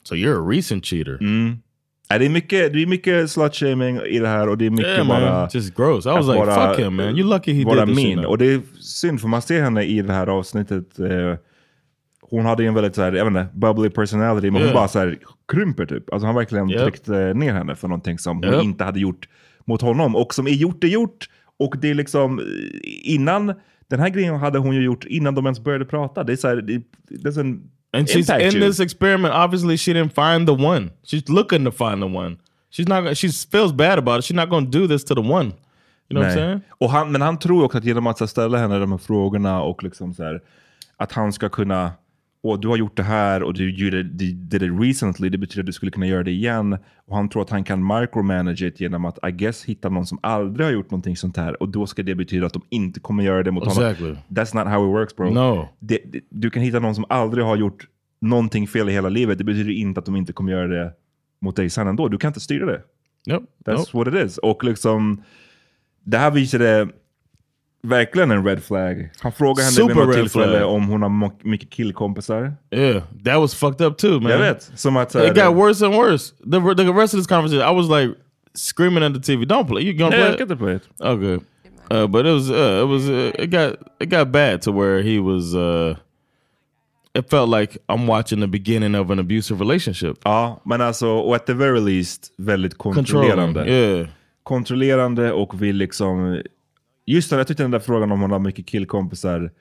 S2: So you're a recent cheater.
S1: Mm. Nej, det, är mycket, det är mycket slutshaming i det här och det är mycket
S2: Yeah, man.
S1: bara...
S2: just gross. I was like,
S1: bara-
S2: fuck him, man. You're lucky he
S1: vara
S2: did this. shit
S1: min.
S2: now.
S1: Och det är synd för man ser henne i det här avsnittet. Eh, hon hade ju en väldigt så här, jag vet inte, bubbly personality men hon
S2: Yeah.
S1: bara så här, krymper typ. Alltså han verkligen
S2: Yep.
S1: tryckte ner henne för någonting som hon
S2: Yep.
S1: inte hade gjort mot honom. Och som är gjort är gjort. Och det är liksom eh, innan, den här grejen hade hon ju gjort innan de ens började prata. Det är så här, det, it doesn't
S2: And she's
S1: impact
S2: in
S1: you.
S2: this experiment. Obviously, she didn't find the one. She's looking to find the one. She's not. gonna- She feels bad about it. She's not going to do this to the one. You know what
S1: Nej.
S2: I'm saying?
S1: Och han, men han tror också att genom att så här, ställa henne de här frågorna och liksom så här, att han ska kunna, åh du har gjort det här och du gjorde det did it recently, det betyder att du skulle kunna göra det igen. Och han tror att han kan micromanage it genom att I guess hitta någon som aldrig har gjort någonting sånt här och då ska det betyda att de inte kommer göra det mot
S2: Exactly.
S1: honom. That's not how it works bro.
S2: No.
S1: Det, det, du kan hitta någon som aldrig har gjort någonting fel i hela livet, det betyder inte att de inte kommer göra det mot dig sen ändå. Du kan inte styra det.
S2: Nope.
S1: That's
S2: nope.
S1: what it is. Och liksom, det här visade verkligen en red flag. Han frågar henne
S2: Super
S1: vid något
S2: red
S1: tillfälle
S2: flag.
S1: om hon har mo- mycket killkompisar.
S2: Yeah, that was fucked up too, man.
S1: Jag vet. Som att, så här,
S2: It got worse and worse. The, the rest of this conversation, I was like screaming at the TV, "Don't play! You gonna
S1: Yeah,
S2: play?
S1: get the play it."
S2: Okay, uh, but it was uh, it was uh, it got it got bad to where he was. Uh, it felt like I'm watching the beginning of an abusive relationship.
S1: Ja, men alltså, och at the very least, väldigt kontrollerande.
S2: Controlling, yeah.
S1: Kontrollerande och vill liksom... Just det, jag tyckte den där frågan om hon har mycket killkompisar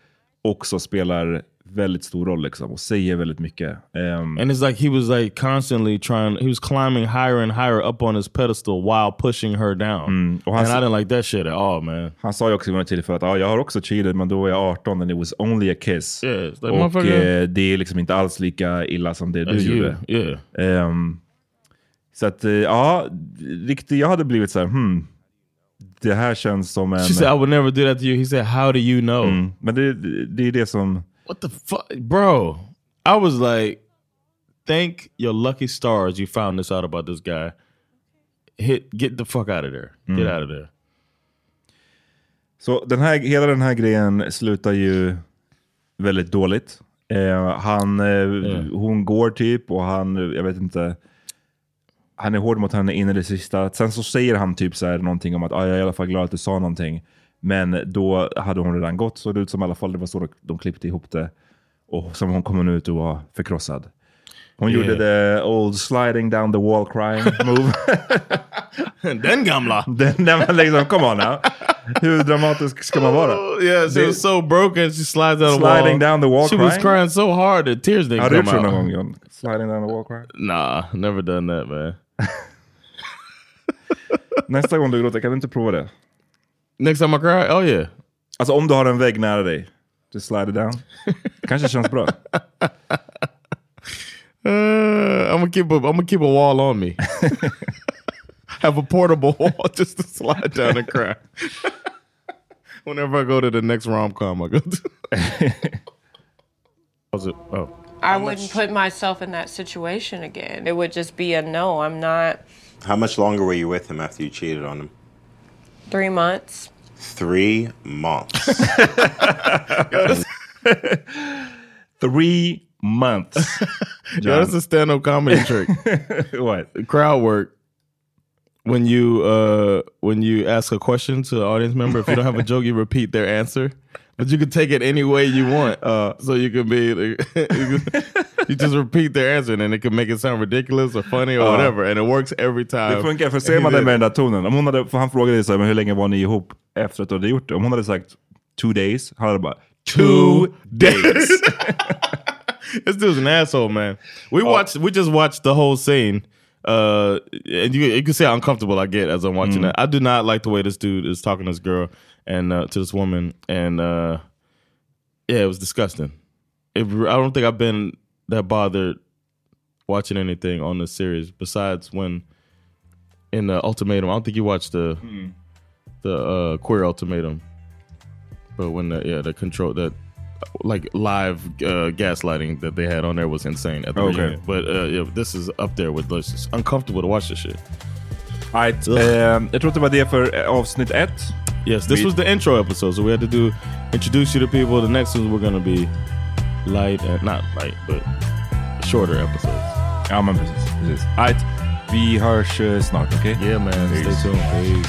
S1: också spelar väldigt stor roll liksom, och säger väldigt mycket. Ehm,
S2: And it's like he was like constantly trying. He was climbing higher and higher up on his pedestal while pushing her
S1: Mm.
S2: down.
S1: och han,
S2: And I didn't like that shit at all, man.
S1: han sa ju också vid något tillfälle att ah, jag har också cheated, men då var jag 18 and it was only a kiss.
S2: Yeah, it's like,
S1: och
S2: motherfucker.
S1: eh, det är liksom inte alls lika illa som det du
S2: As you,
S1: gjorde.
S2: yeah.
S1: Ehm, så att, eh, ja, riktigt, jag hade blivit så här, hmm, det här känns som en...
S2: She said, "I would never do that to you." He said, "How do you know?"
S1: Mm, men det, det är det som...
S2: What the fuck, bro? I was like, thank your lucky stars you found this out about this guy. Hit, get the fuck out of there.
S1: Mm.
S2: Get out of there.
S1: Så den här, hela den här grejen slutar ju väldigt dåligt. Eh, han, eh, Hon går typ och han, eh, jag vet inte, han är hård mot henne in i det sista. Sen så säger han typ så här någonting om att ah, jag är i alla fall glad att du sa någonting. Men då hade hon redan gått såg det ut som i alla fall. Det var så de, de klippte ihop det. Och som hon kom ut och var förkrossad. Hon
S2: Yeah.
S1: gjorde the old sliding down the wall crying move.
S2: Den gamla.
S1: Den där man liksom, come on now. Hur dramatisk ska man vara?
S2: Yeah, she
S1: Det-
S2: was so broken. She slides down the wall.
S1: Sliding down the wall
S2: She was
S1: crying?
S2: crying so hard that tears didn't
S1: Har du
S2: come
S1: gjort så någon gång
S2: out.
S1: John? Sliding down the wall cry?
S2: Nah, never done that, man.
S1: Nästa gång du gråter, kan du inte prova det?
S2: Next time I cry, oh yeah.
S1: Alltså om du har en vägg nära dig, just slide it down. kanske känns bra.
S2: Uh, I'm gonna keep a I'm gonna keep a wall on me. Have a portable wall just to slide down and cry. Whenever I go to the next rom com, I go to. How's it? Oh,
S9: I wouldn't put myself in that situation again. It would just be a no. I'm not
S8: How much longer were you with him after you cheated on him?
S9: three months.
S8: Three months.
S1: Three months.
S2: yeah, that's a stand up comedy trick.
S1: What?
S2: Crowd work. When you uh when you ask a question to an audience member, if you don't have a joke, you repeat their answer. But you can take it any way you want. Uh, so you can be like, you, can- you just repeat their answer and then it can make it sound ridiculous or funny or whatever. And it works every time.
S1: Det funkar, för ser man det med den där tonen. Om hon hade, för han frågade ju så här, men hur länge var ni ihop efter att du hade gjort det? Om hon hade sagt two days, han hade bara two days.
S2: This dude's an asshole, man.
S1: Oh.
S2: We watched. We just watched the whole scene. Uh, and you you can see how uncomfortable I get as I'm watching
S1: Mm.
S2: that. I do not like the way this dude is talking to this girl and uh, to this woman, and uh, yeah, it was disgusting. It, I don't think I've been that bothered watching anything on this series besides when in the ultimatum. I don't think you watched the the uh, queer ultimatum, but when the yeah the control that like live uh, gaslighting that they had on there was insane at the
S1: Okay.
S2: reunion. But uh, yeah, this is up there with this. It's uncomfortable to watch this shit.
S1: Right. Eh, jag tror att det var det för eh, avsnitt ett.
S2: Yes, this
S1: We-
S2: was the intro episode, so we had to do introduce you to people. The next ones we're gonna be light, uh, not light, but shorter episodes.
S1: Ja, men precis. precis. Right. Vi hörs eh, snart, okej?
S2: Yeah, man,
S1: Peace.
S2: stay tuned. Peace.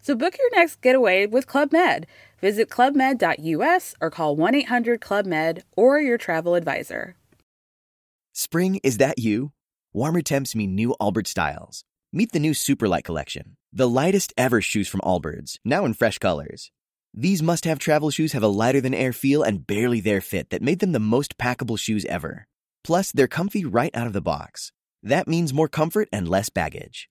S7: So book your next getaway with Club Med. Visit clubmed.us or call 1 800 Club Med or your travel advisor.
S10: Spring, is that you? Warmer temps mean new Albert styles. Meet the new Superlight Collection, the lightest ever shoes from Allbirds, now in fresh colors. These must have travel shoes have a lighter than air feel and barely their fit that made them the most packable shoes ever. Plus, they're comfy right out of the box. That means more comfort and less baggage.